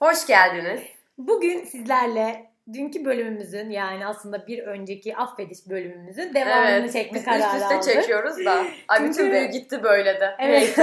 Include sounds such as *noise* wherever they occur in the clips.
Hoş geldiniz. Bugün sizlerle dünkü bölümümüzün yani aslında bir önceki affediş bölümümüzün devamını çekme biz kararı üst üste aldık. çekiyoruz da. Ay bütün Çünkü- büyü gitti böyle de. *laughs* Evet. Neyse.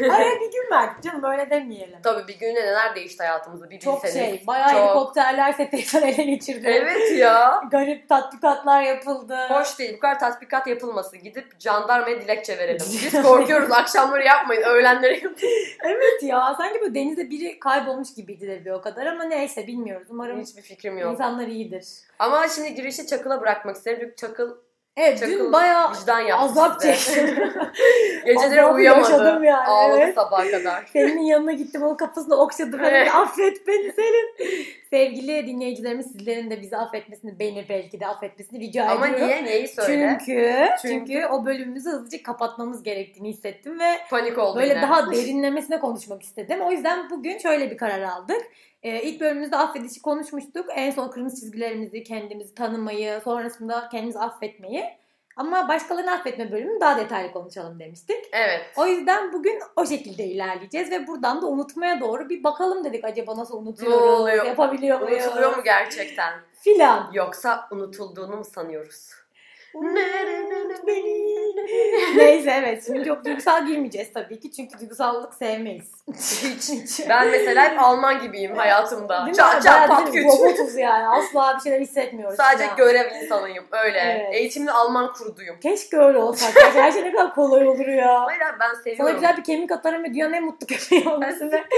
*laughs* Araya bir gün verdik canım öyle demeyelim. *laughs* Tabii bir günde neler değişti hayatımızda bir Çok bilseniz. şey bayağı Çok. helikopterler STK'den *laughs* ele geçirdi. Evet ya. Garip tatbikatlar yapıldı. Hoş değil. Bu kadar tatbikat yapılması. Gidip jandarmaya *laughs* dilekçe verelim. Biz korkuyoruz. Akşamları yapmayın. Öğlenleri yapın. Evet ya sanki böyle denizde biri kaybolmuş gibiydi dedi o kadar ama neyse bilmiyoruz. Umarım Hiçbir fikrim yok. insanlar iyidir. Ama şimdi girişi Çakıl'a bırakmak isterim. Çünkü Çakıl, Evet Çakıl dün bayağı vicdan yaptı azap size. çektim. *laughs* Geceleri Azabı uyuyamadı. yaşadım yani, Ağladı evet. sabaha kadar. Selin'in yanına gittim onun kafasını okşadım. Ben Evet. de, affet beni Selin. Sevgili dinleyicilerimiz sizlerin de bizi affetmesini, beni belki de affetmesini rica Ama ediyorum. niye? Neyi söyle? Çünkü, Çünkü- çünkü o bölümümüzü hızlıca kapatmamız gerektiğini hissettim ve Panik oldu böyle yine. daha derinlemesine konuşmak istedim. O yüzden bugün şöyle bir karar aldık. Ee, ilk bölümümüzde affedişi konuşmuştuk. En son kırmızı çizgilerimizi, kendimizi tanımayı, sonrasında kendimizi affetmeyi. Ama başkalarını affetme bölümünü daha detaylı konuşalım demiştik. Evet. O yüzden bugün o şekilde ilerleyeceğiz ve buradan da unutmaya doğru bir bakalım dedik acaba nasıl unutuyoruz, Ne oluyor? yapabiliyor muyuz? Unutuluyor mu gerçekten? Filan. Yoksa unutulduğunu mu *laughs* sanıyoruz? Neyse evet şimdi çok duygusal girmeyeceğiz tabii ki çünkü duygusallık sevmeyiz. Hiç. Ben mesela hep Alman gibiyim hayatımda. Değil mi? Çat çat Bayağı pat bizim güç. Robotuz yani asla bir şeyler hissetmiyoruz. Sadece falan. görev insanıyım öyle. Evet. Eğitimli Alman kuruduyum. Keşke öyle olsak. Gerçi Her şey ne kadar kolay olur ya. Hayır abi ben Sana seviyorum. güzel bir kemik atarım ve dünyanın en mutlu köpeği olmasını. *laughs*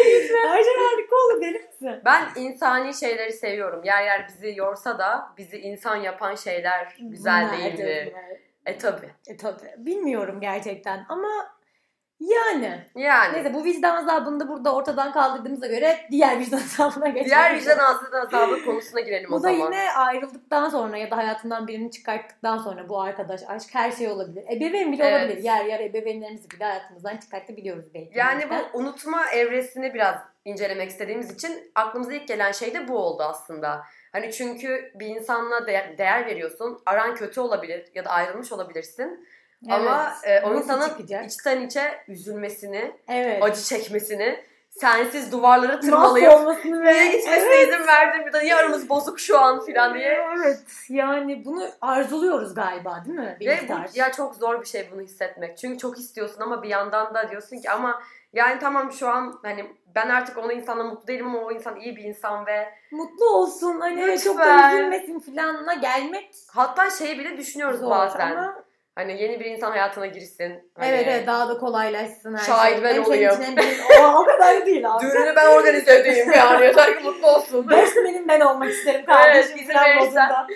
Her şey harika olur deli misin? Ben insani şeyleri seviyorum. Yer yer bizi yorsa da bizi insan yapan şeyler güzel Bunlar değil mi? tabii. E tabi. E tabii. Bilmiyorum gerçekten ama yani. Yani. Neyse bu vicdan azabını da burada ortadan kaldırdığımıza göre diğer vicdan azabına geçelim. Diğer vicdan azabı, azabı konusuna girelim o Bu da zaman. yine ayrıldıktan sonra ya da hayatından birini çıkarttıktan sonra bu arkadaş aşk her şey olabilir. Ebeveyn bile Evet. olabilir. Yer yer ebeveynlerimizi bile hayatımızdan çıkartabiliyoruz belki. Yani Neyse. bu unutma evresini biraz incelemek istediğimiz için aklımıza ilk gelen şey de bu oldu aslında. Hani çünkü bir insanla de- değer veriyorsun. Aran kötü olabilir ya da ayrılmış olabilirsin. Ama Evet. e, o Nasıl insanın çıkacak? içten içe üzülmesini, evet. acı çekmesini, sensiz duvarları Mahvolmasını tırmalayıp ve *laughs* niye gitmeseydin verdim bir de niye aramız bozuk şu an filan diye. Evet yani bunu arzuluyoruz galiba değil mi? Bir Ve bu miktar. ya çok zor bir şey bunu hissetmek. Çünkü çok istiyorsun ama bir yandan da diyorsun ki ama yani tamam şu an hani ben artık ona insanla mutlu değilim ama o insan iyi bir insan ve Mutlu olsun hani Lütfen. çok da üzülmesin filanına gelmek hatta şeyi bile düşünüyoruz zor bazen. ama Hani yeni bir insan hayatına girsin. Hani, evet evet daha da kolaylaşsın her Şahit şey. ben Hem senin olayım. için hem benim- Aa, o kadar değil *laughs* abi. Düğününü ben organize edeyim yani yeter ki mutlu *laughs* olsun. Resmenim ben olmak isterim kardeşim izin filan verirsen. modunda.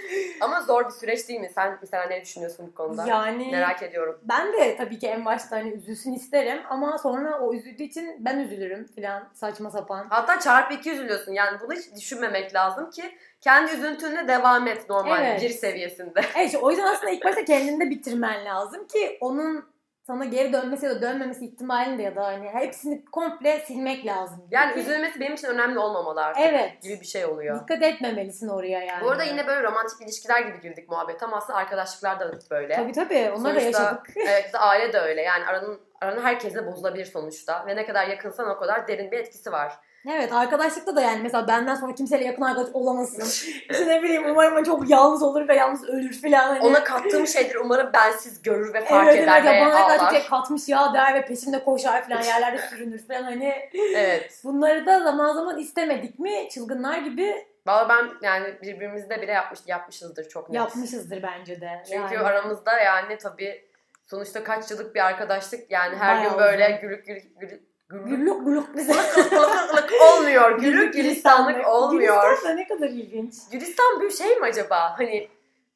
ama zor bir süreç değil mi? Sen mesela ne düşünüyorsun bu konuda? Yani Merak ediyorum. ben de tabii ki en başta hani üzülsün isterim ama sonra o üzüldüğü için ben üzülürüm filan saçma *laughs* sapan. Hatta çarpı iki üzülüyorsun. Yani bunu hiç düşünmemek lazım ki kendi üzüntünle devam et normal Evet. bir seviyesinde. *laughs* Evet işte o yüzden aslında ilk başta kendinde bitirmen lazım ki onun sana geri dönmesi ya da dönmemesi ihtimalini de ya da hani hepsini komple silmek lazım. Yani Ki- üzülmesi benim için önemli olmamalı artık Evet. gibi bir şey oluyor. Dikkat etmemelisin oraya yani. Bu arada yine böyle romantik ilişkiler gibi girdik muhabbet ama aslında arkadaşlıklar da böyle. Tabii tabii onlar da Sonuçta- *laughs* yaşadık. Evet, aile de öyle. Yani aranın aranın herkesle bozulabilir sonuçta. Ve ne kadar yakınsan o kadar derin bir etkisi var. Evet arkadaşlıkta da yani mesela benden sonra kimseyle yakın arkadaş olamazsın. *laughs* işte ne bileyim umarım çok yalnız olur ve yalnız ölür filan. Hani. Ona kattığım şeydir umarım bensiz görür ve fark eder evet, ya ve bana ne kadar ağlar. çok katmış ya der ve peşimde koşar filan yerlerde sürünür filan hani. Evet. Bunları da zaman zaman istemedik mi çılgınlar gibi Valla ben yani birbirimizde bile yapmış, yapmışızdır çok net. yapmışızdır bence de. Çünkü Yani. aramızda yani tabii sonuçta kaç yıllık bir arkadaşlık yani her Bayağı gün böyle uzun. gülük gülük gülük gülük Güllük gülük *laughs* bize. Gülük olmuyor. Gülük gülistanlık olmuyor. Gülistan da ne kadar ilginç. Gülistan bir şey mi acaba? Hani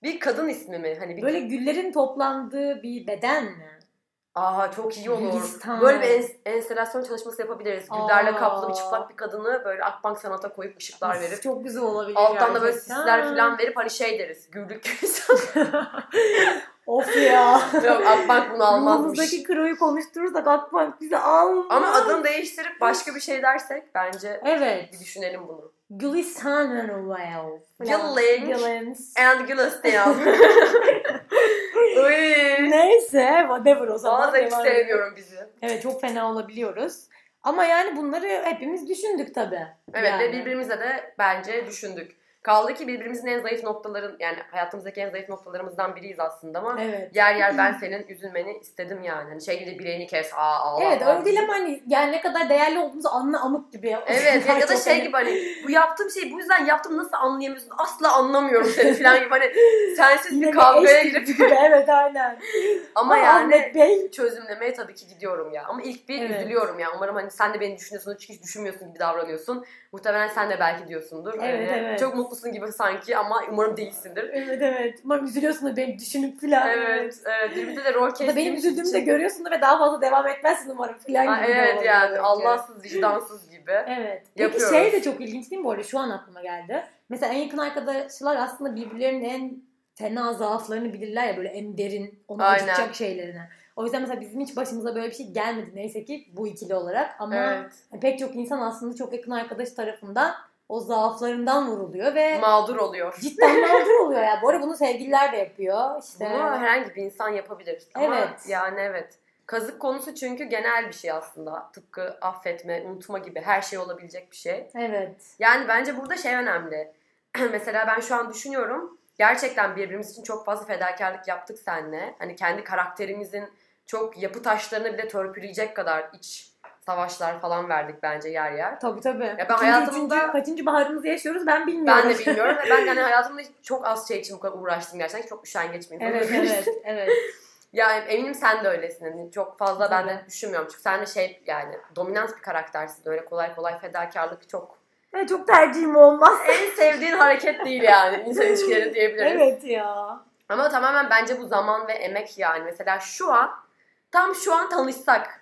bir kadın ismi mi? Hani bir... Böyle güllerin toplandığı bir beden mi? Aa çok iyi olur. Gülistan. Böyle bir ens- enstelasyon çalışması yapabiliriz. Güllerle Aa. kaplı bir çıplak bir kadını böyle Akbank Sanat'a koyup ışıklar Of, verip Çok güzel olabilir alttan da böyle gerçekten. sisler falan verip hani şey deriz. Güllük *laughs* Gülistan. Of ya. Yok Akbank bunu *laughs* almazmış. Ruhumuzdaki kroyu konuşturursak Akbank bizi almaz. Ama adını değiştirip başka bir şey dersek bence Evet. bir düşünelim bunu. Gülistan and Well. Gilling. Gillings. And *laughs* Gülistan. Uy. Neyse whatever o zaman. Vallahi hiç devam edelim. sevmiyorum bizi. Evet çok fena olabiliyoruz. Ama yani bunları hepimiz düşündük tabii. Evet yani. ve birbirimize de bence düşündük. Kaldı ki birbirimizin en zayıf noktaların yani hayatımızdaki en zayıf noktalarımızdan biriyiz aslında ama Evet. yer *laughs* yer ben senin üzülmeni istedim yani. Hani şey gibi bileğini kes aa ağla. Evet falan. öyle değil ama hani yani ne kadar değerli olduğumuzu anla amık gibi. *laughs* *laughs* Evet ya, ya da Çok şey hani- gibi hani bu yaptığım şeyi bu yüzden yaptım nasıl anlayamıyorsun asla anlamıyorum seni falan gibi hani sensiz Yine bir bir kavgaya eş *laughs* girip gibi. evet aynen. ama yani Ahmet Bey. çözümlemeye tabii ki gidiyorum ya ama ilk bir Evet. üzülüyorum ya umarım hani sen de beni düşünüyorsun çünkü hiç düşünmüyorsun gibi davranıyorsun muhtemelen sen de belki diyorsundur Evet, Hani evet. çok mutlusun gibi sanki ama umarım değilsindir Evet evet. Umarım üzülüyorsun da beni düşünüp filan. evet evet birbirimize de rol Ya da benim kestiğimiz üzüldüğümü de için- görüyorsun da ve daha fazla devam etmezsin umarım filan Ha, gibi. de evet oluyor yani bence. Allahsız vicdansız gibi Evet. Peki Yapıyoruz. şey de çok ilginç değil mi bu arada? Şu an aklıma geldi. Mesela en yakın arkadaşlar aslında birbirlerinin en fena zaaflarını bilirler ya böyle en derin, onu Aynen. acıtacak şeylerini. O yüzden mesela bizim hiç başımıza böyle bir şey gelmedi neyse ki bu ikili olarak ama hani evet pek çok insan aslında çok yakın arkadaş tarafından o zaaflarından vuruluyor ve mağdur oluyor cidden mağdur oluyor ya. Bu arada bunu sevgililer de yapıyor. İşte Bunu herhangi bir insan yapabilir. Ama Evet. yani evet. Kazık konusu çünkü genel bir şey aslında. Tıpkı affetme, unutma gibi her şey olabilecek bir şey. evet. Yani bence burada şey önemli. *clears throat* Mesela ben şu an düşünüyorum. Gerçekten birbirimiz için çok fazla fedakarlık yaptık seninle. Hani kendi karakterimizin çok yapı taşlarını bile törpüleyecek kadar iç savaşlar falan verdik bence yer yer. Tabii tabii. Ya ben hayatımda- kaçıncı baharımızı yaşıyoruz ben bilmiyorum. Ben de bilmiyorum ve ben yani hayatımda çok az şey için bu kadar uğraştım gerçekten. Çok üşengeç bir insanım. *laughs* Evet *laughs* evet evet. Yani eminim sen de öylesin. Hani çok fazla ben de Tabii. düşünmüyorum. Çünkü sen de şey yani dominant bir karaktersin. Öyle kolay kolay fedakarlık çok *laughs* Evet, çok tercihim olmaz. en sevdiğin hareket değil yani *laughs* insan ilişkileri diyebiliriz. Evet ya. Ama tamamen bence bu zaman ve emek yani. Mesela şu an tam şu an tanışsak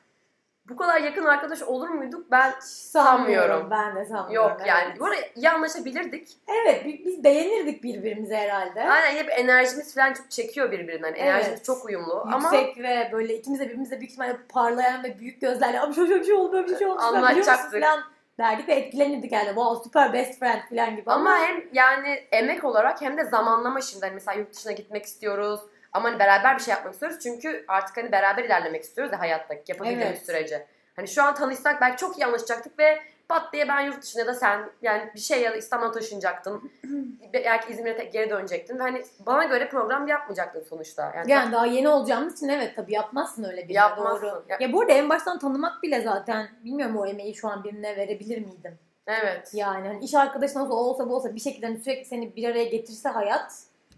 bu kadar yakın arkadaş olur muyduk? Ben Sanmıyorum. Ben de sanmıyorum. yok evet. yani. Bu arada iyi anlaşabilirdik. Evet bi- biz beğenirdik birbirimizi herhalde. Aynen hep enerjimiz falan çok çekiyor birbirinden. Enerjimiz Evet. çok uyumlu ama Yüksek ve böyle ikimiz de birbirimize büyük ihtimalle parlayan ve büyük gözlerle abi şöyle bir şey oldu böyle bir şey oldu falan biliyor musun?" Anlatacaktık. falan derdik ve etkilenirdik yani. Wow süper best friend falan gibi ama, Ama hem yani emek olarak hem de zamanlama şimdi hani mesela yurt dışına gitmek istiyoruz. Ama hani beraber bir şey yapmak istiyoruz. Çünkü artık hani beraber ilerlemek istiyoruz ya hayattaki yapabildiğimiz Evet. sürece. Hani şu an tanışsak belki çok iyi anlaşacaktık ve pat diye ben yurt dışına ya da sen yani bir şey ya da *clears throat* İstanbul'a taşınacaktın. belki İzmir'e tek- geri dönecektin. Hani bana göre program yapmayacaktın sonuçta. Yani, yani daha yeni olacağımız için evet tabii yapmazsın öyle birini. yapmazsın. Doğru. Ya- Ya bu arada en baştan tanımak bile zaten bilmiyorum o emeği şu an birine verebilir miydim? evet. Yani hani iş arkadaşın olsa o olsa bu olsa bir şekilde hani sürekli seni bir araya getirse hayat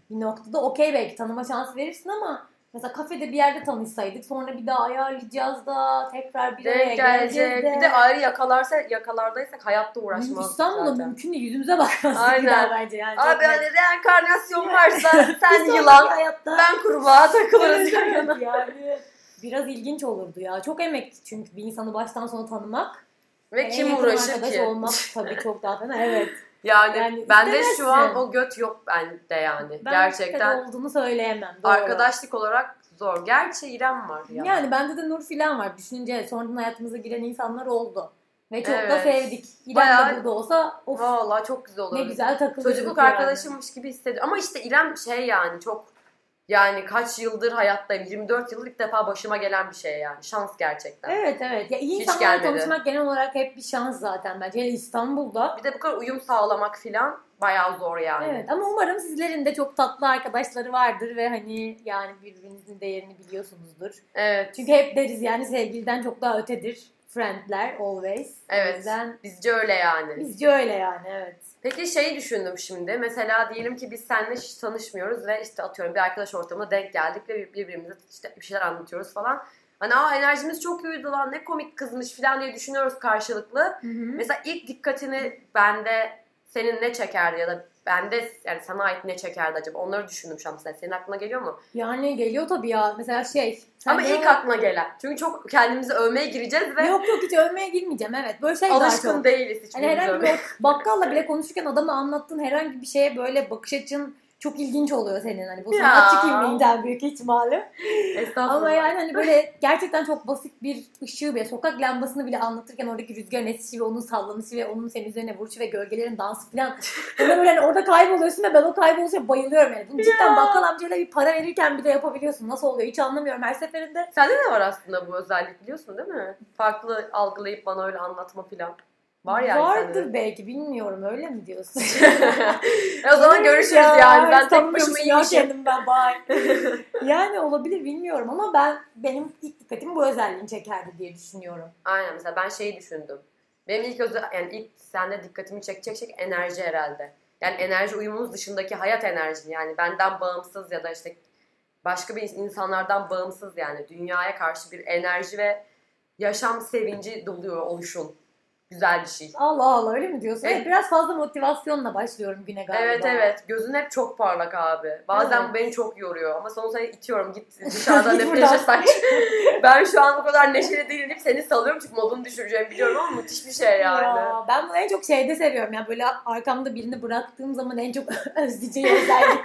bir noktada okey belki tanıma şansı verirsin ama mesela kafede bir yerde tanışsaydık sonra bir daha ayarlayacağız da tekrar bir araya Denk gelecek. geleceğiz de. Bir de ayrı yakalarsa yakalardaysak hayatta Mümkün- uğraşmazdık İstanbul'da zaten. mümkün değil yüzümüze bakmazdık Aynen. bir daha bence yani. Çok Abi net. hani reenkarnasyon varsa *laughs* Bir sen sonraki yılan, hayatta- *laughs* Ben kurbağa takılırız Evet, yan evet yana. yani. Biraz ilginç olurdu ya. Çok emek çünkü bir insanı baştan sona tanımak. Ve Yani Hani en kim yakın uğraşır arkadaş ki? olmak tabii çok daha fena. Evet. *laughs* Yani, Yani bende istemezsin. şu an o göt yok bende yani. Ben Gerçekten de olduğunu söyleyemem. Doğru. arkadaşlık olarak zor. Gerçi İrem var ya. Yani bende de Nur filan var. Düşünce sonradan hayatımıza giren insanlar oldu. Ve çok da Evet. sevdik. İrem Bayağı- de burada olsa of Vallahi çok güzel olur. ne güzel takılırdık. Çocukluk yani. arkadaşımmış gibi hissediyorum. Ama işte İrem şey yani çok yani kaç yıldır hayattayım. 24 yıllık ilk defa başıma gelen bir şey yani. Şans gerçekten. Evet evet. Ya iyi Hiç insanlarla gelmedi. tanışmak genel olarak hep bir şans zaten bence. Hele İstanbul'da. Bir de bu kadar uyum sağlamak filan bayağı zor yani. Evet ama umarım sizlerin de çok tatlı arkadaşları vardır ve hani yani birbirinizin değerini biliyorsunuzdur. Evet. Çünkü hep deriz yani sevgiliden çok daha ötedir. Friendler always. O Evet. yüzden Bizce öyle yani. bizce öyle yani evet. Peki şeyi düşündüm şimdi. Mesela diyelim ki biz seninle hiç tanışmıyoruz ve işte atıyorum bir arkadaş ortamına denk geldik ve bir- birbirimize işte bir şeyler anlatıyoruz falan. Hani aa enerjimiz çok iyiydi lan ne komik kızmış falan diye düşünüyoruz karşılıklı. Hı hı. Mesela ilk dikkatini bende senin ne çekerdi ya da bende yani sana ait ne çekerdi acaba? Onları düşündüm şu an mesela. Senin aklına geliyor mu? Yani geliyor tabii ya. Mesela şey. sen Ama de- ilk aklına gelen. Çünkü çok kendimizi övmeye gireceğiz ve Yok yok hiç övmeye girmeyeceğim evet. Böyle şey daha alışkın çok. değiliz hiçbirimiz Hani herhangi övmeye. bir bakkalla bile konuşurken adama anlattığın herhangi bir şeye böyle bakış açın çok ilginç oluyor senin hani bu Ya. sanatçı kimliğinden büyük ihtimalle. Estağfurullah. Ama yani hani böyle gerçekten çok basit bir ışığı bile, sokak lambasını bile anlatırken oradaki rüzgarın esişi ve onun sallanışı ve onun senin üzerine vuruşu ve gölgelerin dansı falan. Böyle böyle hani orada kayboluyorsun da ben o kayboluşa bayılıyorum yani. Bunu cidden bakkal amcayla bir para verirken bir de yapabiliyorsun. Nasıl oluyor hiç anlamıyorum her seferinde. Sende de var aslında bu özellik biliyorsun değil mi? Farklı algılayıp bana öyle anlatma falan. Var yani Vardır sende de. belki bilmiyorum öyle mi diyorsun? *laughs* E *laughs* o zaman görüşürüz Ya, yani. Ben tek sanmıyormuşum başıma ya şey- iyiymişim. kendim ben bye. *laughs* yani olabilir bilmiyorum ama ben benim ilk dikkatim bu özelliğini çekerdi diye düşünüyorum. Aynen mesela ben şeyi düşündüm. Benim ilk özel, yani ilk sende dikkatimi çekecek şey enerji herhalde. Yani enerji uyumumuz dışındaki hayat enerjisi yani benden bağımsız ya da işte başka bir insanlardan bağımsız yani dünyaya karşı bir enerji ve yaşam sevinci doluyor oluşun. Güzel bir şey. Allah Allah öyle mi diyorsun? Evet. Evet, Biraz fazla motivasyonla başlıyorum güne galiba. Evet evet. Gözün hep çok parlak abi. Bazen Evet. bu beni çok yoruyor ama sonra seni itiyorum git *laughs* dışarıdan Git nefes buradan. saç. *laughs* ben şu an bu kadar neşeli değilim seni salıyorum çünkü modunu düşüreceğimi biliyorum ama müthiş bir şey yani. Ya, ben bunu en çok şeyde seviyorum ya böyle arkamda birini bıraktığım zaman en çok *laughs* özleyeceğim *laughs* özellik.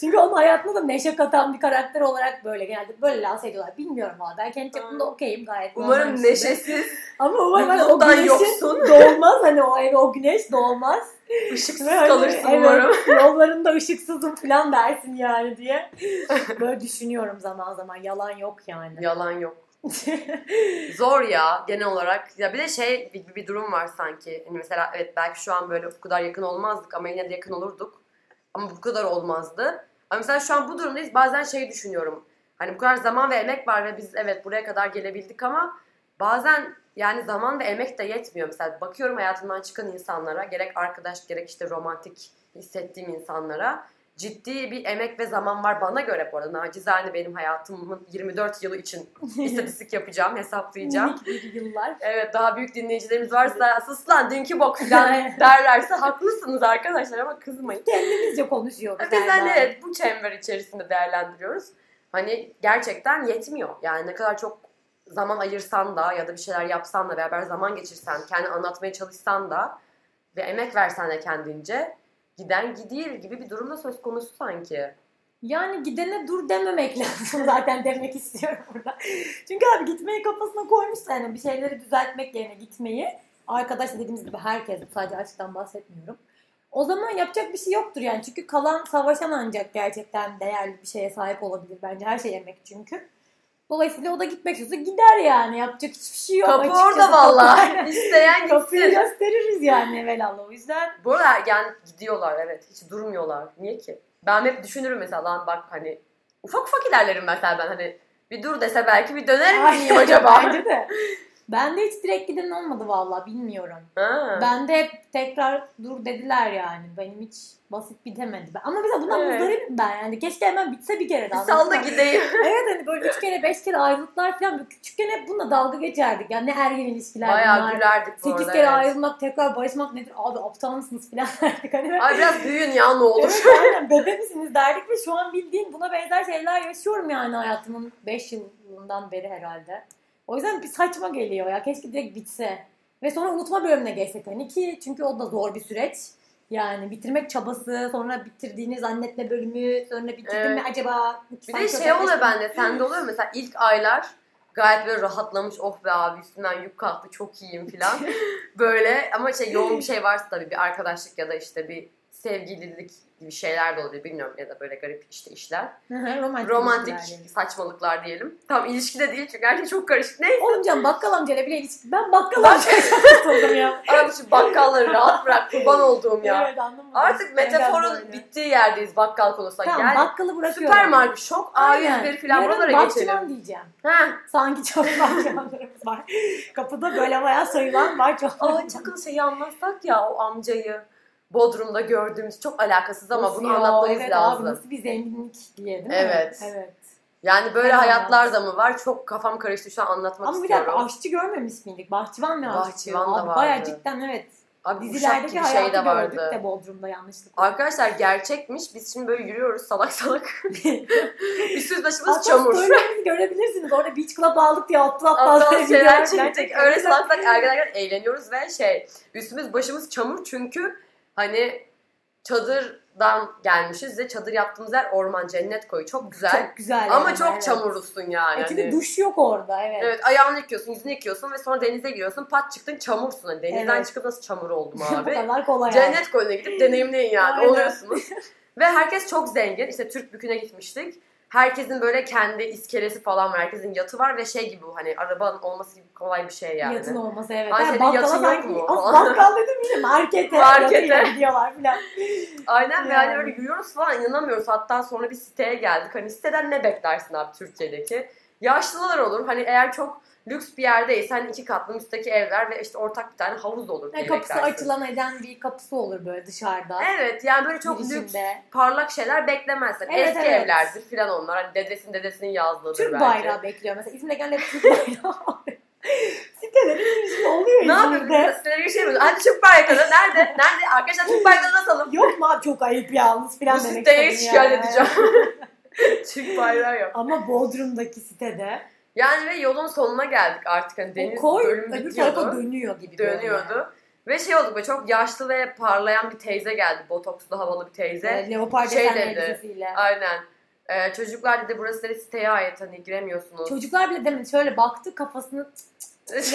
Çünkü onun hayatına da neşe katan bir karakter olarak böyle genelde böyle lanse ediyorlar. Bilmiyorum valla ben kendi çapımda okeyim gayet. normal bir Umarım şey. *laughs* neşesiz, Ama umarım hani o mutluluktan güneşin yoksun, *laughs* doğmaz hani o eve o güneş doğmaz. ışıksız Ve hani, kalırsın evet, umarım. Yollarında ışıksızım falan dersin yani *laughs* diye. Böyle düşünüyorum zaman zaman. Yalan yok yani. Yalan yok. Zor ya genel olarak. Ya bir de şey bir, bir durum var sanki. Hani mesela evet belki şu an böyle bu kadar yakın olmazdık ama yine de yakın olurduk. Ama bu kadar olmazdı. Ama mesela şu an bu durumdayız. Bazen şey düşünüyorum. Hani bu kadar zaman ve emek var ve biz evet buraya kadar gelebildik ama bazen yani zaman ve emek de yetmiyor. Mesela bakıyorum hayatımdan çıkan insanlara gerek arkadaş gerek işte romantik hissettiğim insanlara ciddi bir emek ve zaman var bana göre bu arada. Nacizane benim hayatımın 24 yılı için *laughs* İstatistik yapacağım, hesaplayacağım. Minik bir yıllar. Evet daha büyük dinleyicilerimiz varsa sus lan dünkü bok falan derlerse haklısınız arkadaşlar ama kızmayın. Kendimizce konuşuyoruz. Biz her hani zaman. evet bu çember içerisinde değerlendiriyoruz. Hani gerçekten yetmiyor. Yani ne kadar çok zaman ayırsan da ya da bir şeyler yapsan da beraber zaman geçirsen, kendi anlatmaya çalışsan da ve emek versen de kendince giden gidiyor gibi bir durumda söz konusu sanki. Yani gidene dur dememek *laughs* lazım zaten demek istiyorum burada. Çünkü abi gitmeyi kafasına koymuş yani bir şeyleri düzeltmek yerine gitmeyi. Arkadaş dediğimiz gibi herkes sadece aşktan bahsetmiyorum. O zaman yapacak bir şey yoktur yani. Çünkü kalan savaşan ancak gerçekten değerli bir şeye sahip olabilir bence. Her şey yemek çünkü. Dolayısıyla o da gitmek istiyorsa gider yani. Yapacak hiçbir şey yok. Kapı açıkçası. orada vallahi. *laughs* *laughs* İsteyen Kapıyı gitsin. gösteririz yani evvelallah. O yüzden Bu arada yani gidiyorlar evet. Hiç durmuyorlar. Niye ki? Ben hep düşünürüm mesela lan bak hani ufak ufak ilerlerim mesela ben hani bir dur dese belki bir döner miyim Ay, acaba? *laughs* Bence de. Bende hiç direkt giden olmadı valla bilmiyorum. Ha. Bende hep tekrar dur dediler yani. Benim hiç basit bitemedi. Ben- Ama mesela bundan Evet. muzdaribim ben yani. Keşke hemen bitse bir kere de. Bir anladın sal da mı? gideyim. *laughs* Evet hani böyle üç kere beş kere ayrılıklar falan. Böyle Küçükken hep bununla dalga geçerdik. Yani ne ergen ilişkiler Bayağı bunlar. gülerdik bu Sekiz arada. kere evet. ayrılmak tekrar barışmak nedir? Abi aptal mısınız falan *laughs* derdik. Hani böyle- Ay biraz büyüyün ya ne *laughs* olur. Evet aynen bebe misiniz derdik ve şu an bildiğim buna benzer şeyler yaşıyorum yani hayatımın 5 yılından beri herhalde. O yüzden bir saçma geliyor ya keşke direkt bitse. Ve sonra unutma bölümüne geçsek hani ki çünkü o da zor bir süreç. Yani bitirmek çabası, sonra bitirdiğini zannetme bölümü, sonra bitirdim mi Evet. acaba? Bir de sanki şey oluyor özelleşme- bende, sende oluyor mu? mesela ilk aylar gayet böyle rahatlamış. Oh be abi üstünden yük kalktı çok iyiyim *laughs* falan. böyle ama şey yoğun bir şey varsa tabii bir arkadaşlık ya da işte bir sevgililik gibi şeyler de olabilir bilmiyorum ya da böyle garip işte işler. Hı hı, romantik. romantik ilişkiler yani. saçmalıklar diyelim. Tam ilişkide değil çünkü her şey *laughs* çok karışık. Ne? Oğlum canım bakkal amcayla bile ilişki. Ben bakkal amcayla tutuldum ya. Abi şu bakkalları rahat bırak kurban olduğum ya. Evet anlamadım. Artık metaforun bitti. bittiği yerdeyiz bakkal konusunda. Tamam yani bakkalı bırakıyorum. süpermarket, şok, A101 falan Yarın buralara geçelim. bahçıvan diyeceğim. Ha. Sanki *laughs* çok bahçıvanlarımız var. Kapıda böyle bayağı sayılan var çok. Aa çakıl şeyi anlatsak ya o amcayı. Bodrum'da gördüğümüz çok alakasız ama Of bunu ya, anlatmamız evet lazım. Abi nasıl bir zenginlik diye değil mi? Evet. Evet. Yani böyle Hemen hayatlar anlat. da mı var? Çok kafam karıştı şu an anlatmak Ama bir istiyorum. dakika aşçı görmemiş miydik? Bahçıvan ve aşçı. Bahçıvan da Abi vardı. Bayağı cidden evet. Abi uşak Dizilerdeki gibi şey hayatı de gördük vardı. de Bodrum'da yanlışlıkla. Arkadaşlar gerçekmiş. Biz şimdi böyle yürüyoruz *laughs* salak salak. Üstümüz başımız Hatta çamur. storylerimizi görebilirsiniz. Orada beach club aldık diye atlı atlı Aptal atlı şeyler videolar çektik. gerçekten. Öyle salak salak ergen ergen eğleniyoruz ve şey üstümüz başımız çamur çünkü hani çadır çadırdan gelmişiz ve çadır yaptığımız yer orman cennet koyu. Çok güzel. Çok güzel. Ama yani, çok evet. çamurlusun yani. E çünkü Hani- duş yok orada evet. *laughs* Evet ayağını yıkıyorsun, yüzünü yıkıyorsun ve sonra denize giriyorsun. Pat çıktın çamursun. Hani denizden Evet. çıkıp nasıl *laughs* çamur oldum Bu abi? kadar kolay. yani. Cennet koyuna gidip deneyimleyin yani. Aynen. Oluyorsunuz. *laughs* Ve herkes çok zengin. İşte Türk Bükü'ne gitmiştik. Herkesin böyle kendi iskelesi falan var. Herkesin yatı var ve şey gibi bu hani arabanın olması gibi kolay bir şey yani. Yatın olması evet. Ay, Yani senin bakkala yatın yok sanki- mu? Of, bakkal dedim yine *laughs* markete. Markete. yatıyla gidiyorlar filan. Aynen ve hani Yani. öyle yürüyoruz falan inanamıyoruz. Hatta sonra bir siteye geldik. Hani siteden ne beklersin abi Türkiye'deki? Yaşlılar olur. Hani eğer çok lüks bir yerdeysen hani iki katlı müstakil evler ve işte ortak bir tane havuz olur diye Yani kapısı beklersin. açılan eden bir kapısı olur böyle dışarıda. Evet yani böyle çok girişinde. lüks parlak şeyler beklemezsin. Evet, Eski evet. evlerdir filan onlar. Hani dedesinin dedesinin yazlığıdır Türk belki. bayrağı bekliyor. Mesela İzmir'de gelen hep Türk bayrağı. Sitelerin girişinde oluyor Ne yapıyorsun? İzmir'de. Sinirli bir şey mi? Hadi Türk bayrağı nerede? Nerede? Arkadaşlar Türk bayrağı asalım. Yok mu abi çok ayıp yalnız Bu filan demek siteye istedim şikayet yani. edeceğim. *laughs* Türk bayrağı yok. Ama Bodrum'daki sitede Yani ve yolun sonuna geldik artık. Hani Deniz deniz o koy bölümü öbür tarafa bitiyordu. dönüyor gibi. böyle. Dönüyordu. Ve şey olduk böyle çok yaşlı ve parlayan bir teyze geldi. Botokslu havalı bir teyze. Böyle leopar Şey desenli dedi. elbisesiyle. Aynen. Ee, çocuklar dedi burası dedi siteye ait hani giremiyorsunuz. Çocuklar bile demin şöyle baktı kafasını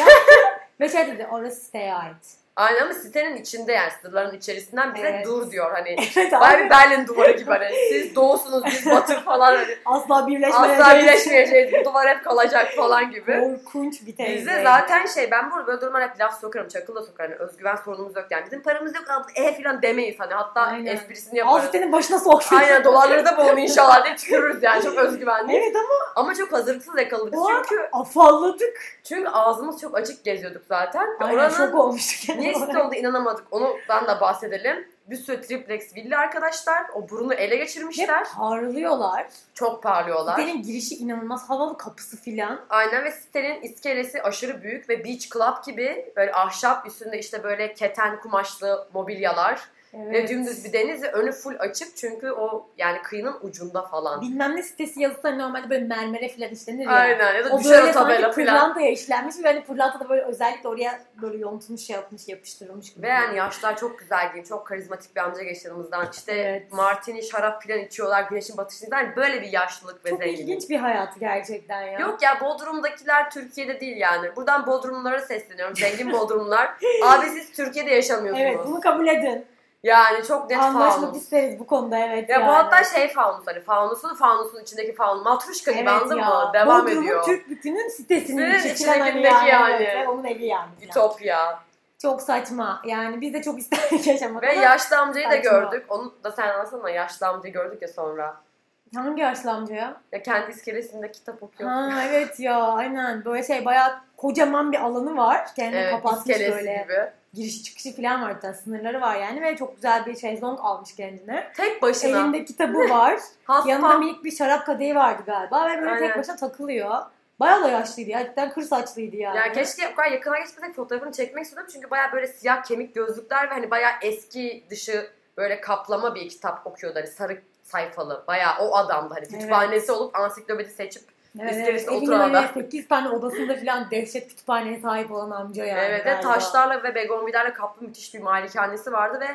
*laughs* ve şey dedi orası siteye ait. *laughs* Aynen ama sitenin içinde yani sınırların içerisinden bize Evet. dur *laughs* diyor hani. Evet Baya abi. bir Berlin duvarı gibi hani siz doğusunuz biz batı falan hani Asla birleşmeyecek. asla birleşmeyeceğiz bu duvar hep kalacak falan gibi. Korkunç bir teyze. Bizde zaten şey ben burada böyle durumlar hep laf sokarım çakılla sokarım hani özgüven sorunumuz yok yani bizim paramız yok abla e filan demeyiz hani hatta Aynen. esprisini Al yaparız. sitenin başına sok. *laughs* Aynen dolarları da boğun inşallah diye tükürürüz yani çok özgüvenli. *laughs* Evet ama Ama çok hazırlıksız yakaladık O an- çünkü afalladık. çünkü ağzımız çok açık geziyorduk zaten. Ve Aynen oranın şok olmuştuk. yani. Niye site oldu inanamadık. Onu ben de bahsedelim. Bir sürü triplex villa arkadaşlar. O burunu ele Hep geçirmişler. parlıyorlar. Çok parlıyorlar. Sitenin girişi inanılmaz havalı kapısı filan. Aynen ve sitenin iskelesi aşırı büyük ve beach club gibi böyle ahşap üstünde işte böyle keten kumaşlı mobilyalar Evet. ve dümdüz bir deniz ve önü full açık çünkü o yani kıyının ucunda falan. Bilmem ne sitesi yazısı hani normalde böyle mermere filan işlenir ya. Aynen ya da şey O düşer o böyle sanki tabela falan. pırlantaya işlenmiş ve hani pırlanta da böyle özellikle oraya böyle yontulmuş şey yapmış yapıştırılmış gibi. Ve yani yaşlar çok güzel giyim, çok karizmatik bir amca geçti yanımızdan. İşte Evet. martini, şarap filan içiyorlar güneşin batışında. Yani böyle bir yaşlılık ve Çok zenginlik. ilginç bir hayatı gerçekten ya. Yok ya Bodrum'dakiler Türkiye'de değil yani. Buradan Bodrumlulara sesleniyorum. Zengin *laughs* Bodrumlular. Abi siz Türkiye'de yaşamıyorsunuz. Evet bunu kabul edin. Yani çok net Anlaşmak faunus. isteriz bu konuda evet. Ya yani. bu hatta şey faunus hani faunusun faunusun içindeki faunus. Matruşka gibi Hani anladın mı? Devam Bodrum'un ediyor. Türk Bükü'nün sitesinin Sitenin içi içindeki falan hani yani. evet, ve onun evi yani. falan. Ütopya. Çok saçma. Yani biz de çok isterdik *laughs* yaşamak Ve ama yaşlı amcayı da saçma. gördük. Onu da sen anlatsana yaşlı amcayı gördük ya sonra. hangi yaşlı amca ya? Ya kendi iskelesinde kitap okuyor. Ha evet ya aynen. Böyle şey bayağı kocaman bir alanı var. Kendini Evet, kapatmış iskelesi böyle. gibi. Giriş çıkışı falan var hatta. Sınırları var yani ve çok güzel bir şezlong almış kendine. Tek başına. Elinde kitabı *laughs* var. Haspa. Yanında minik bir şarap kadehi vardı galiba ve böyle Aynen. tek başına takılıyor. Bayağı da yaşlıydı ya. Cidden kır saçlıydı yani. Ya keşke o kadar yakına geçmesek fotoğrafını çekmek istedim. Çünkü baya böyle siyah kemik gözlükler ve hani baya eski dışı böyle kaplama bir kitap okuyordu. Hani sarı sayfalı. Baya o adamdı. Hani kütüphanesi olup ansiklopedi seçip. iskelesi evinin oturan böyle adam. 8 tane odasında falan dehşet kütüphaneye sahip olan amca yani. evet ve galiba. taşlarla ve begonvilerle kaplı müthiş bir malikanesi vardı ve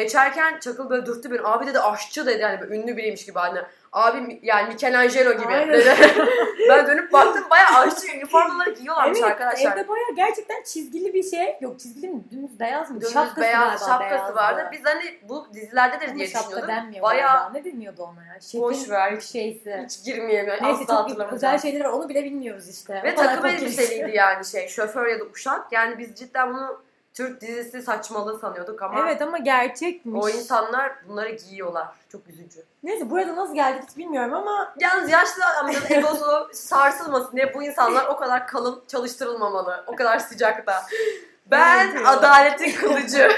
geçerken Çakıl böyle dürttü beni. Abi dedi aşçı dedi hani böyle ünlü biriymiş gibi hani. Abi yani Michelangelo gibi Aynen. dedi. *laughs* ben dönüp baktım baya aşçı üniformaları giyiyorlarmış Evet, arkadaşlar. evde bayağı gerçekten çizgili bir şey. Yok çizgili mi? Dümdüz beyaz mı? Dümdüz şapkası beyaz galiba şapkası beyazdı. vardı. Biz hani bu dizilerde de Ama diye şapka düşünüyorduk. denmiyor Bayağı- bayağı. Ne deniyordu ona ya? Şefin Boş ver. bir şeysi. Hiç girmeyeyim yani Neyse asla çok şey. özel hatırlamayacağım. şeyler var. Onu bile bilmiyoruz işte. Ve O kadar takım fakiriz. elbiseliydi yani şey şoför ya da uşak. Yani biz cidden bunu Türk dizisi saçmalığı sanıyorduk ama Evet ama gerçekmiş. o insanlar bunları giyiyorlar. Çok üzücü. Neyse burada nasıl geldik hiç bilmiyorum ama Yalnız yaşlı amcanın egosu *laughs* sarsılmasın diye bu insanlar o kadar kalın çalıştırılmamalı. O kadar sıcakta. Ben Evet, evet. adaletin *laughs* kılıcı,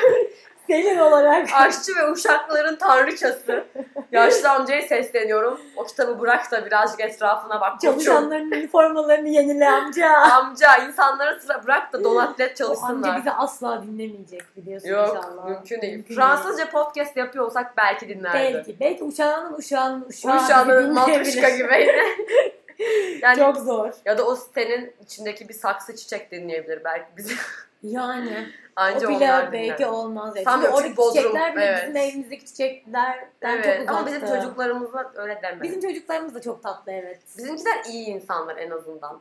senin olarak aşçı ve uşakların tanrıçası. Yaşlı amcaya sesleniyorum. O kitabı bırak da birazcık etrafına bak. *laughs* koçum. çalışanların üniformalarını yenile amca. Amca insanları sıra bırak da donatlet O amca çalışsınlar. bizi asla dinlemeyecek biliyorsun Yok inşallah. mümkün değil. Mümkün Fransızca podcast yapıyor olsak belki dinlerdi. Belki. Belki uşağının uşağının uşağı Şu anda bizi matruşka dinleyebilir. gibiydi. *laughs* yani Çok zor. ya da o sitenin içindeki bir saksı çiçek dinleyebilir belki bizi. Yani *laughs* Anca o bile onlar belki dinler. olmaz. Ya. Sanmıyorum Çünkü çünkü oradaki Bodrum, çiçekler bile evet. bizim evimizdeki çiçeklerden Evet. çok Ama uzaktı. bizim çocuklarımızla öyle denmez. Bizim çocuklarımız da çok tatlı evet. Bizimkiler iyi insanlar en azından.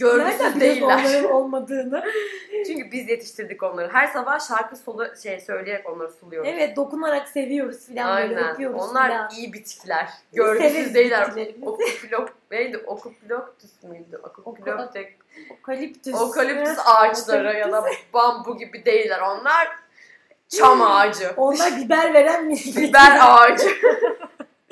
Nereden Görgüsüz biliyorsun değiller. onların olmadığını. *laughs* Çünkü biz yetiştirdik onları. Her sabah şarkı solu şey söyleyerek onları suluyoruz. Evet dokunarak seviyoruz filan böyle Aynen. öpüyoruz Onlar filan. iyi bitkiler. Biz Görgüsüz severiz değiller. bitkilerimizi. Okuplok neydi? Okuploktus muydu? Okuplok tek. Okaliptüs. Okaliptüs ağaçları ya da bambu gibi değiller. Onlar *laughs* çam ağacı. Onlar biber veren bir Biber ağacı. *laughs*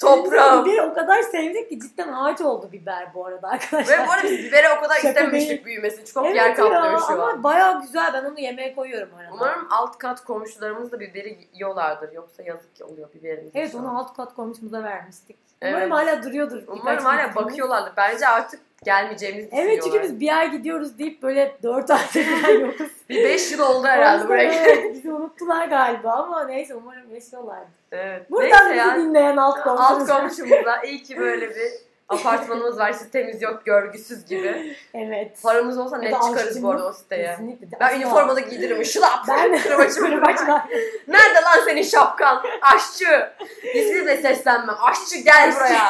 Toprağım. Biberi o kadar sevdik ki cidden ağaç oldu biber bu arada arkadaşlar. Ve bu arada biz biberi o kadar Şaka istememiştik değil. büyümesini. Çok Evet yer kaplıyor şu an. Ama bayağı güzel ben onu yemeğe koyuyorum arada. Umarım alt kat komşularımız da biberi yiyorlardır. Yoksa yazık ki oluyor biberimiz. Evet şu onu an. alt kat komşumuza vermiştik. Evet. Umarım hala duruyordur. birkaç Umarım hala litremiz. bakıyorlardır. Bence artık gelmeyeceğimizi Evet çünkü düşünüyorlar. biz bir ay gidiyoruz deyip böyle dört ay *laughs* falan yokuz. Bir 5 yıl oldu O herhalde yüzden buraya. evet, bizi unuttular galiba ama neyse umarım yaşıyorlar. Evet. Buradan Neyse bizi ya. dinleyen alt Alt komşumuz. komşumuzda iyi ki *laughs* böyle bir apartmanımız var. Sitemiz yok görgüsüz gibi. evet. Paramız olsa net Ya da çıkarız bu arada o siteye. Kesinlikle. Ben üniformada giydiririm. Şılap. Ben- Kırbaçı *laughs* kırbaçı. Kırbaçla. Nerede lan senin şapkan? Aşçı. İsmiyle seslenmem. Aşçı gel Aşçı. buraya.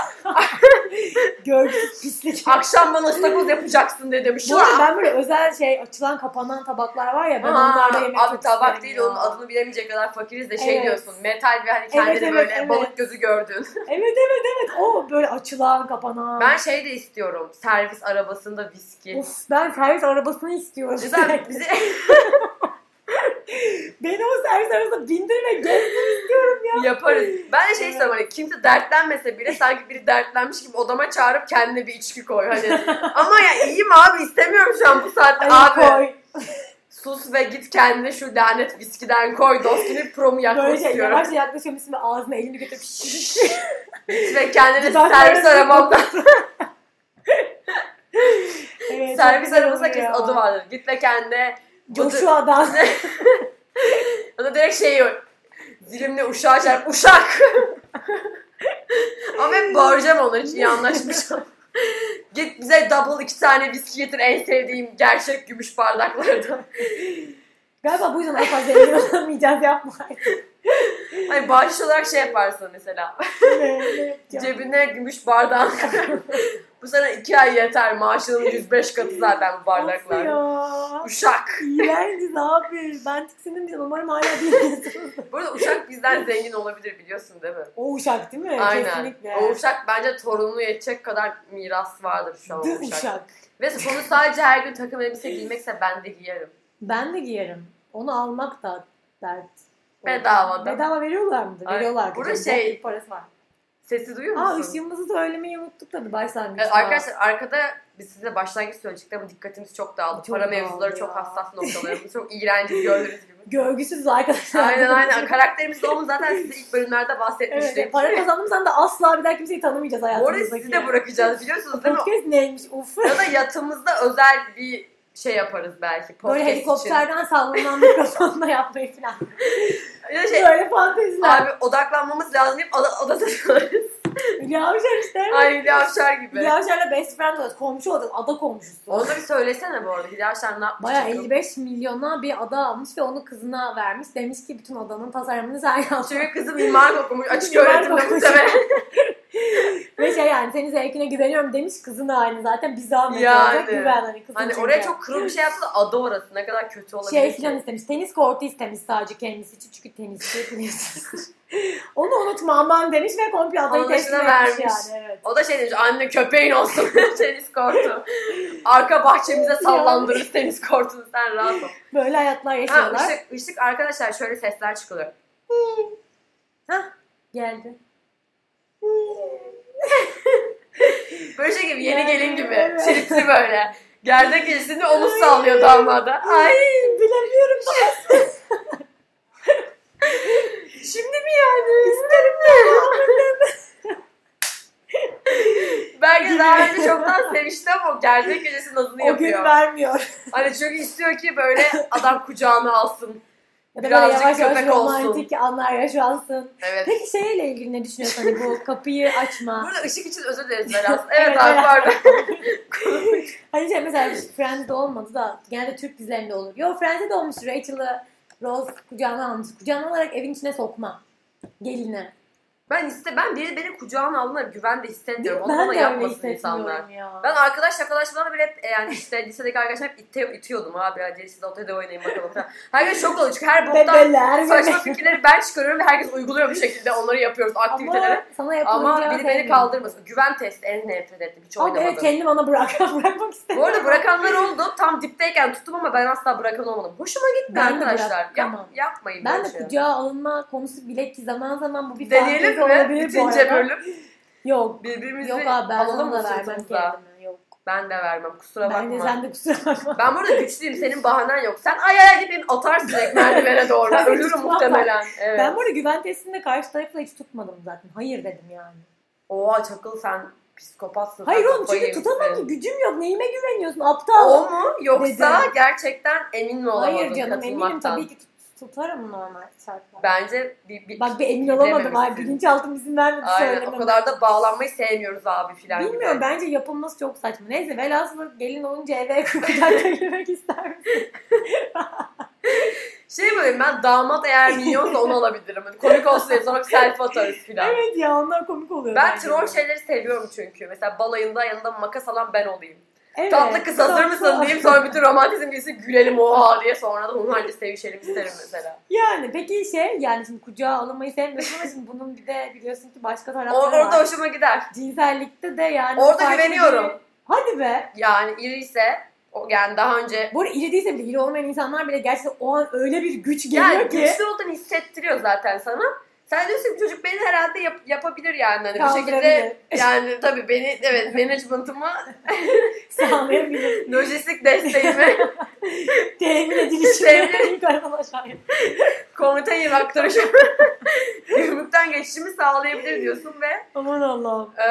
Görgüsüz pislik. Akşam bana ıstakoz yapacaksın dedim. Bu arada Şılap. ben böyle özel şey açılan kapanan tabaklar var ya ben Aa, onlarda yemek abi çok tabak isterim değil ya. onun adını bilemeyecek kadar fakiriz de şey Evet. diyorsun metal ve hani kendini evet, böyle evet. balık gözü gördün. Evet evet evet o böyle açılan kapanan. Ben şey de istiyorum servis arabasında viski. Of ben servis arabasını istiyorum. *laughs* Güzel bize Beni o servis arabasına bindir ve gez. yaparız. Ben de şey Evet. istiyorum hani kimse dertlenmese bile sanki biri dertlenmiş gibi odama çağırıp kendine bir içki koy. *laughs* Hani ama ya iyiyim abi istemiyorum şu an bu saatte Ay, abi. koy. Sus ve git kendine şu lanet viskiden koy. Dostini promu yakmak Böyle şey istiyorum. yavaşça yaklaşıyorum ismi ağzına elini götürüp *laughs* şşş. Git ve kendine Ben servis böyle- arabamda Evet, servis çok güzel arabasında olur kesin ya. adı vardır. Git ve kendine *laughs* Joshua'dan. Ya da direkt şey yok. Dilimle uşağa çarp. Uşak! *laughs* Ama hep bağıracağım onlar için iyi anlaşmışım. *laughs* Git bize double iki tane viski getir en sevdiğim gerçek gümüş bardaklardan. Galiba bu yüzden o kadar zengin olamayacağız yapma. *laughs* Hani bağış olarak şey yaparsın mesela. Ne- ne yapacağım? Cebine gümüş bardağın. bu sana iki ay yeter. Maaşının 105 katı zaten bu Of bardaklar. ya. Uşak. İğrenciz abi. Ben tiksindim bir umarım hala değiliz. Bu arada uşak bizden zengin olabilir biliyorsun değil mi? o uşak değil mi? Aynen. Kesinlikle. O uşak bence torununu yetecek kadar miras vardır şu an The o uşak. uşak. Ve konu sadece her gün takım elbise giymekse ben de giyerim. Ben de giyerim. Onu almak da dert. Bedava da. Bedava veriyorlar mıydı? Ay, Veriyorlar. burada şey- Parası var. Sesi duyuyor Aa musun? ışığımızı da söylemeyi unuttuk tabii başlangıçta. Evet, arkadaşlar arkada biz size başlangıç söyledik ama dikkatimiz çok dağıldı. Çok Para dağıldı mevzuları ya. çok *laughs* hassas noktalarımız. çok iğrenci gördüğünüz gibi. Görgüsüz arkadaşlar. Aynen aynen. Karakterimiz de onun zaten size ilk bölümlerde *laughs* bahsetmiştik. Evet, para kazandığımızdan da asla bir daha kimseyi tanımayacağız Bu arada hayatımızdaki. sizi *laughs* de bırakacağız biliyorsunuz değil mi? Podcast neymiş uf. ya da yatımızda özel bir şey yaparız belki. Podcast Böyle için. helikopterden sallanan *laughs* mikrofonla yapmayı falan. Ya da şey, Böyle fanteziler. abi odaklanmamız lazım deyip ada- adada *laughs* kalırız. Hülya Avşar işte. Ay Hülya Avşar gibi. Hülya Avşar'la best friend olduk. Komşu olduk. Ada komşusu. Onu da bir söylesene bu arada. Hülya Avşar ne yapmış? Baya Çünkü- 55 milyona bir ada almış ve onu kızına vermiş. Demiş ki bütün adanın tasarımını sen yap. Çünkü kızım mimarlık okumuş. Açık Mimarlık öğretimde okumuş. muhtemelen. *laughs* Ve şey yani senin zevkine güveniyorum demiş kızın aynı zaten bir zahmet Yani. olacak güven hani kızın Hani çünkü. oraya çok kırıl bir şey yapsa da adı orası. Ne kadar kötü olabilir şey ki. filan istemiş. Tenis kortu istemiş sadece kendisi için çünkü tenisçi *laughs* biliyorsunuz. Onu unutma aman demiş ve komple adayı Onun teslim dışına etmiş vermiş. yani. Evet. O da şey demiş anne köpeğin olsun *laughs* tenis kortu. Arka bahçemize sallandırırız tenis kortunu sen rahat ol. Böyle hayatlar Ha, yaşıyorlar. ışık, ışık arkadaşlar şöyle sesler çıkıyor. Geldi. Böyle şey gibi yeni Yani, gelin gibi. evet. Çirikli böyle. Gerdek ilsinde omuz sallıyor damada. Ay Şey, Bilemiyorum. şimdi mi yani? İsterim de. Belki daha önce çoktan sevişti ama o gerdek gecesinin adını O gün yapıyor. vermiyor. Hani çünkü istiyor ki böyle adam kucağına alsın. Ya da böyle Birazcık yavaş yavaş köpek olsun. romantik anlar *laughs* yaşansın. *laughs* Evet. Peki şeyle ilgili ne düşünüyorsun? Hani *laughs* bu kapıyı açma. Burada ışık için özür dileriz Beraz. Evet, Evet, abi Beraz. pardon. Hani şey mesela Friends'de olmadı da genelde Türk dizilerinde olur. Yo Friends'de de olmuş Rachel'ı Rose kucağına almış. Kucağına alarak evin içine sokma. Geline. Ben iste ben biri beni kucağına alınır güven de hissediyorum. Onu Ben bana de öyle yapmasın insanlar. hissetmiyorum ya. Ben arkadaş arkadaşlarla bile hep e, yani işte lisedeki arkadaşlar hep ite, itiyordum abi. Hadi siz otelde oynayın bakalım falan. Herkes şok oluyor çünkü her boktan Bebeler saçma bebek. fikirleri ben çıkarıyorum ve herkes uyguluyor bir şekilde. Onları yapıyoruz aktivitelere. Ama sana Ama, yapılınca biri beni sevmiyorum. kaldırmasın. Güven testi en nefret ettiğim. Hiç Ama oynamadım. evet kendi bana bırak. *laughs* Bırakmak Bu istemiyorum. arada bırakanlar oldu. Tam dipteyken tuttum ama ben asla bırakan olmadım. Hoşuma gitti Ben de arkadaşlar. Yap- bırakamam. yapmayın Ben böyle de şey. kucağa alınma konusu bilek ki zaman zaman bu bir Deneyelim fantezi mi? olabilir bu Bitince arada. bölüm. Yok. Birbirimizi Yok abi ben alalım sana mı da vermem sırtımıza? kendimi. Yok. Ben de vermem. Kusura Ben de bakma. sen de kusura bakma. Ben burada güçlüyüm. Senin bahanen yok. Sen ay ay deyip beni atarsın direkt merdivene doğru. Ben Ben Ölürüm hiç muhtemelen. Evet. Ben bu arada güven testinde karşı tarafla hiç tutmadım zaten. Hayır dedim yani. Oha çakıl sen psikopatsın. Hayır sen oğlum kafayı çünkü yemişsin. tutamam ki gücüm yok. Neyime güveniyorsun aptal? O mu yoksa Dedim. gerçekten emin mi olamadın Hayır canım eminim katılmaktan? tabii ki tut- tutarım normal şartlarda. Bence bir, bir Bak bir emin olamadım. Ay bilememişsin. bilinçaltım izin vermedi Aynen söylememe. o kadar da bağlanmayı sevmiyoruz abi filan. gibi. Bilmiyorum bence yapılması çok saçma. Neyse velhasıl gelin olunca eve *laughs* kucakta girmek ister misin? Şey böyle ben damat eğer minyonsa onu alabilirim. Hani komik olsun diye sonra bir selfie atarız filan. Evet ya onlar komik oluyor. Ben bence. troll şeyleri seviyorum çünkü. Mesela balayında yanında makas alan ben olayım. Evet. Tatlı kız *laughs* hazır Tatlı. mısın diyeyim sonra bütün romantizm gitsin gülelim oha diye sonra da onun halde sevişelim isterim mesela. Yani peki şey yani şimdi kucağa alınmayı sevmiyorsun ama şimdi bunun bir de biliyorsun ki başka O- tarafları var. orada hoşuma gider. Cinsellikte de yani. Orada farklı güveniyorum. bir- Hadi be. Yani iri ise o yani daha önce Bu arada iri değilse bile iri olmayan insanlar bile gerçekten o an öyle bir güç geliyor yani ki. güçlü olduğunu hissettiriyor zaten sana. Sen diyorsun ki çocuk beni herhalde yap- yapabilir yani. Hani bir şekilde Kaldırabilir. yani tabii beni evet management'ımı Sağlayabilir. *laughs* *laughs* lojistik desteğimi Temin edilişini *laughs* Temin- yukarıdan aşağıya. komutanı aktarışımı *laughs* gümrükten geçişimi sağlayabilir diyorsun ve Aman Allah'ım. e,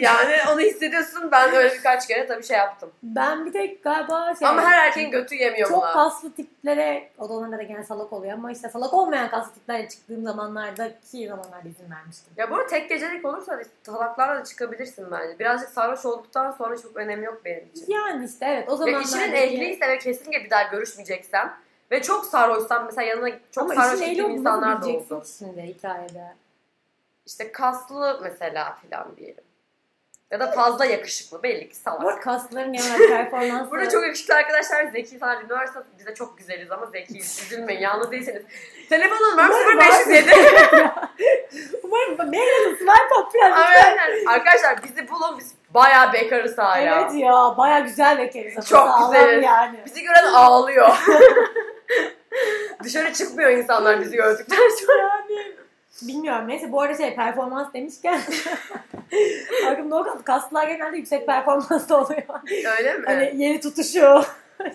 yani onu hissediyorsun. Ben öyle birkaç kere tabii şey yaptım. Ben bir tek galiba şey... Ama her erkeğin götü yemiyor çok buna. kaslı tiplere odalarında da gene salak oluyor ama işte salak olmayan kaslı tiplerle çıktığım zamanlardaki zamanlarda izin vermiştim. Ya bu arada tek gecelik olursa da salaklarla da çıkabilirsin bence. Birazcık sarhoş olduktan sonra çok önemi yok benim için. Yani işte evet o Ya zamanlar... işinin ehliyse ve kesinlikle bir daha görüşmeyeceksem ve çok sarhoşsam mesela yanına çok Ama sarhoş işin ehli gittiğim olduğunu insanlar da bileceksin oldu. ki şimdi hikayede. İşte kaslı mesela filan diyelim. Ya da fazla yakışıklı belli ki Bu arada *laughs* salak. kasların genel performansı... Burada çok yakışıklı arkadaşlar zeki insanlar dinliyorsa bize çok güzeliz ama zekiyiz. Üzülmeyin yalnız değilseniz. Telefon numaram Umarım 0507. Umarım mail adresi ver patlayan. *laughs* Aynen. Arkadaşlar bizi bulun biz bayağı bekarız hala. Evet ya baya güzel bekleriz. Çok Sağlam *laughs* güzeliz. yani. Bizi gören ağlıyor. *laughs* Dışarı çıkmıyor insanlar bizi gördükten sonra. yani. Bilmiyorum neyse bu arada şey performans demişken *laughs* aklımda o kaldı. Kaslılar genelde yüksek performanslı oluyor. Öyle mi? Hani yeni tutuşu.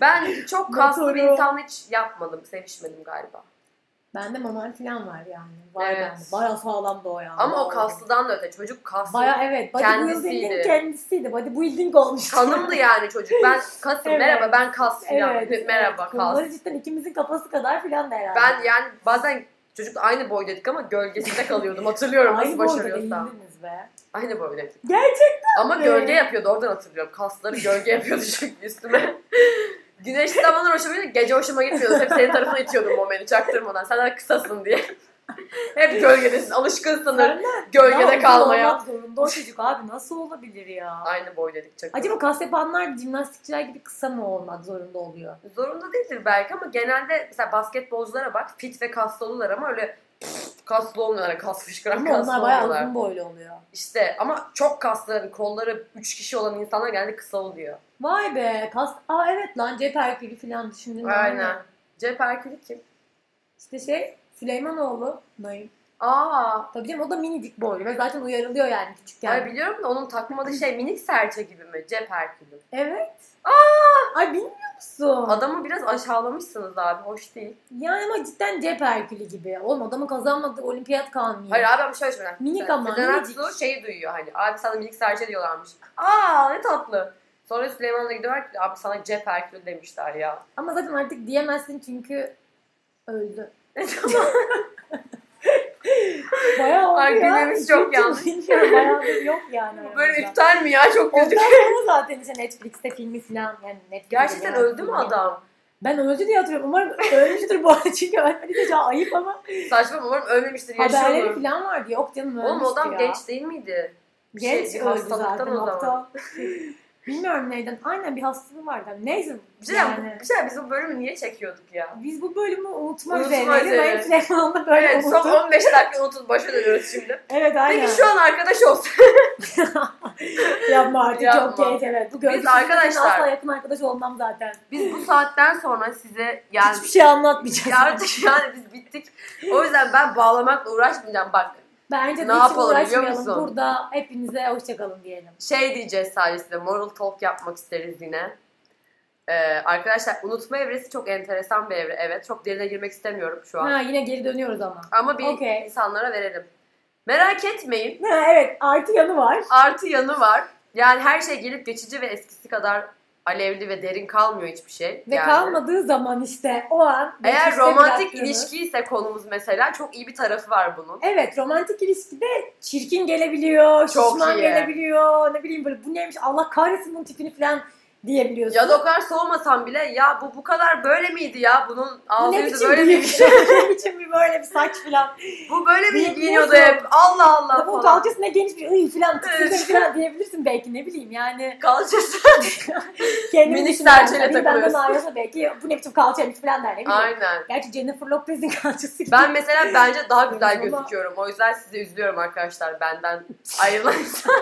Ben *laughs* çok kaslı bir Motoru. insanla hiç yapmadım, sevişmedim galiba. Bende mamal falan var yani. Var Evet. bende. Baya sağlam da o yani. Ama o kaslıdan da öte. Çocuk kaslı. Baya evet. Kendisiydi. Bodybuilding'in kendisiydi. Bodybuilding olmuştu. Kanımdı yani çocuk. Ben *laughs* kasım. Evet. Merhaba ben kas filan. *laughs* Merhaba evet. kas. Bunları cidden ikimizin kafası kadar filan da herhalde. Ben yani bazen çocuk aynı boydaydık ama gölgesinde kalıyordum. Hatırlıyorum Aynı nasıl boyda başarıyorsa. değildiniz be. Aynı boydaydık. Gerçekten. Ama mi? gölge yapıyordu. Oradan hatırlıyorum. Kasları gölge yapıyordu *laughs* çünkü üstüme. Güneşli zamanlar hoşuma gidiyordu. Gece hoşuma gitmiyordu. Hep senin tarafına itiyordum o beni çaktırmadan. Sen daha kısasın diye. *laughs* Hep gölgedesin. Alışkınsın Senden daha gölgede uzun kalmaya. olmak zorunda o çocuk abi nasıl olabilir ya? Aynı boy dedik çakı. Acaba kas yapanlar jimnastikçiler gibi kısa mı olmak zorunda oluyor? Zorunda değildir belki ama genelde mesela basketbolculara bak fit ve kaslı olurlar ama öyle pff, kaslı olmuyorlar. Kas fışkıran Ama kaslı onlar bayağı olmuyorlar. uzun boylu oluyor. İşte ama çok kaslı hani kolları 3 kişi olan insanlar genelde kısa oluyor. Vay be kas... Aa evet lan cep erkeği falan düşündüm. ben Aynen. ya. Cep Erkül'ü kim? İşte şey Süleymanoğlu. Naim. Aa, Tabii canım o da minicik boylu ve zaten uyarılıyor yani küçükken. Ay biliyorum da onun takmadığı şey minik serçe gibi mi? Cep *laughs* Herkül'ü. Evet. Aa! Ay bilmiyor musun? Adamı biraz aşağılamışsınız abi. Hoş değil. Yani ama cidden cep erkülü gibi. Oğlum adamın kazanmadığı olimpiyat kalmıyor. Hayır abi ama şöyle şöyle. Minik Mesela ama, Sezen minicik. Aksu şeyi duyuyor hani. Abi sana minik serçe diyorlarmış. Aa ne tatlı. Sonra Süleyman'la gidiyorlar ki abi sana cep Herkül'ü demişler ya. *laughs* Ama zaten artık diyemezsin çünkü öldü. Bayağı oldu Ay, ya. gündemimiz İki, çok üç yanlış. yıl bilmiyorum. Bayağı da yok yani. *laughs* Bu aramızda. bölüm iptal mi ya? Çok kötü. Ondan sonra zaten işte Netflix'te filmi falan yani Netflix'te Gerçekten falan öldü mü filmi. adam? Ben öldü diye hatırlıyorum. Umarım ölmüştür bu arada çünkü ölmediyse çok ayıp ama Saçma umarım ölmemiştir. Yaşıyor haberleri mu? falan vardı. Yok canım ölmüştü Oğlum o adam ya. genç değil miydi? bir şey, Genç bir öldü hastalıktan zaten o zaman. aptal. Şey, Bilmiyorum neyden. Aynen bir hastalığı vardı. ama Neyse Bir şey, yani. bir şey biz bu bölümü niye çekiyorduk ya? Biz bu bölümü unutma, Unutma üzerineydi. üzerine. Ben Süleyman'la böyle Evet unuttum. son 15 dakika unutun başa dönüyoruz şimdi. Evet aynen. Peki şu an arkadaş olsun. *laughs* Yapma artık çok Yapma. geç evet. Bu görüşü arkadaşlar- asla yakın arkadaş olmam zaten. Biz bu saatten sonra size yani Hiçbir şey anlatmayacağız. Ya artık yani biz bittik. O yüzden ben bağlamakla uğraşmayacağım. Bak Bence de Ne hiç yapalım biliyor uğraşmayalım. musun? Burada hepinize hoşçakalın diyelim. şey diyeceğiz sadece size. Moral talk yapmak isteriz yine. Ee, arkadaşlar unutma evresi çok enteresan bir evre. Evet çok derine girmek istemiyorum şu an. Ha yine geri dönüyoruz ama. Ama bir Okey. insanlara verelim. Merak etmeyin. Ha, evet artı yanı var. Artı yanı var. Yani her şey gelip geçici ve eskisi kadar alevli ve derin kalmıyor hiçbir şey. Ve yani. kalmadığı zaman işte o an. Eğer geçmişte romantik bıraktığınız- ilişki ise konumuz mesela çok iyi bir tarafı var bunun. Evet romantik ilişkide çirkin gelebiliyor, Çok şişman iyi. gelebiliyor, ne bileyim böyle bu neymiş Allah kahretsin bunun tipini falan diyebiliyorsun. Ya da o kadar soğumasam bile ya bu bu kadar böyle miydi ya bunun bu ağzı ne yüzü biçim böyle böyle şey miydi? ne biçim bir böyle bir saç falan. Bu böyle mi Niye giyiniyordu biliyorsun? hep? Allah Allah Bu falan. kalçasına geniş bir ıy falan tıksızın Evet. falan diyebilirsin belki ne bileyim yani. Kalçası. Kendimi Minik düşünüyorum. serçeyle Hani takılıyorsun. Benden ayrılsa belki bu ne biçim kalçaymış falan der ne bileyim. Aynen. Gerçi Jennifer Lopez'in *laughs* kalçası gibi. Ben mesela bence daha güzel Ama- gözüküyorum. O yüzden size üzülüyorum arkadaşlar benden ayrılan *laughs* insan.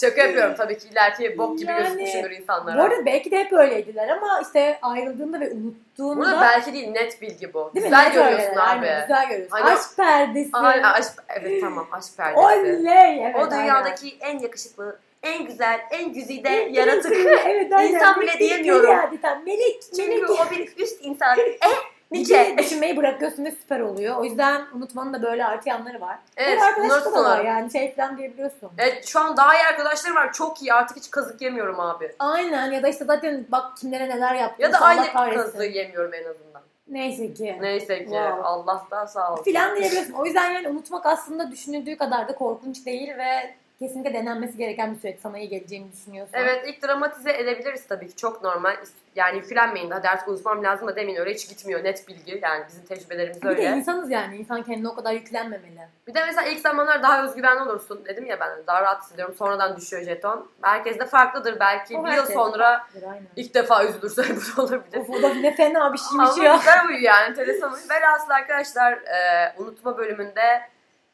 Şaka yapıyorum tabii ki ileriki bok gibi Yani- gözükmüşümdür insanlara. Bu arada belki de hep öyleydiler ama işte ayrıldığında ve unuttuğunda Bunu belki değil net bilgi bu. Değil mi? güzel Net görüyorsun öyleler, abi. aynen, güzel görüyorsun. Hani- aşk perdesi. Aynen, aşk, evet tamam aşk perdesi. Oley. Evet, o aynen. dünyadaki en yakışıklı, en güzel, en güzide Evet, yaratık. evet, aynen. İnsan bile Melek diyemiyorum. değil adeta. Melek. Çünkü melek. o bir üst insan. Eh, Nice. nice. düşünmeyi bırakıyorsun ve süper oluyor. O yüzden unutmanın da böyle artı yanları var. Evet, Böyle arkadaşlık bunlar da var sonra. yani şey falan diyebiliyorsun. Evet şu an daha iyi arkadaşlarım var. Çok iyi artık hiç kazık yemiyorum abi. Aynen ya da işte zaten bak kimlere neler yaptın. Ya da Allah aynı kahretsin. kazığı yemiyorum en azından. Neyse ki. Neyse ki Wow. Allah'tan sağ olsun. Filan diyebiliyorsun. O yüzden yani unutmak aslında düşünüldüğü kadar da korkunç değil ve kesinlikle denenmesi gereken bir süreç. Sana iyi geleceğini düşünüyorsan. Evet ilk dramatize edebiliriz tabii ki çok normal. Yani yüklenmeyin hadi artık unutmam lazım da demeyin öyle hiç gitmiyor net bilgi yani bizim tecrübelerimiz Bir de öyle. insanız yani. İnsan kendine o kadar yüklenmemeli. Bir de mesela ilk zamanlar daha özgüvenli olursun dedim ya ben daha rahat hissediyorum sonradan düşüyor jeton. Herkes de farklıdır belki O bir yıl herkes. sonra Aynen. ilk defa üzülürse *laughs* bu da olabilir. Of o da ne fena bir şeymiş Ama ya. güzel huyu yani enteresan huyu. Velhasıl arkadaşlar e, unutma bölümünde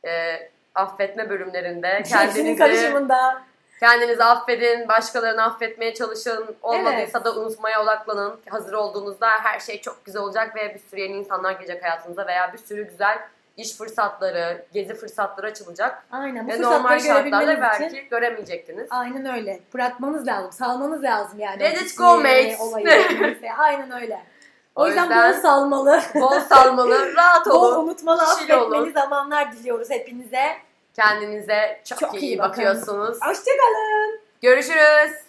e, affetme bölümlerinde Kendini kendinizi, karışımında. kendinizi affedin, başkalarını affetmeye çalışın. Olmadıysa da unutmaya odaklanın. Hazır olduğunuzda her şey çok güzel olacak ve bir sürü yeni insanlar gelecek hayatınıza veya bir sürü güzel iş fırsatları, gezi fırsatları açılacak. Aynen bu ve normal fırsatları şartlarda görebilmeniz belki için. göremeyecektiniz. Aynen öyle. Bırakmanız lazım. Salmanız lazım yani. Let O it go, kişiyi, mates. olayı, neyse. Aynen öyle. O, O yüzden, yüzden- bol salmalı, Bol *laughs* salmalı, rahat bol olun. unutmalı, kişiyle affetmeli olun. zamanlar diliyoruz hepinize. Kendinize çok, Çok iyi iyi bakın. bakıyorsunuz. Hoşçakalın. Görüşürüz.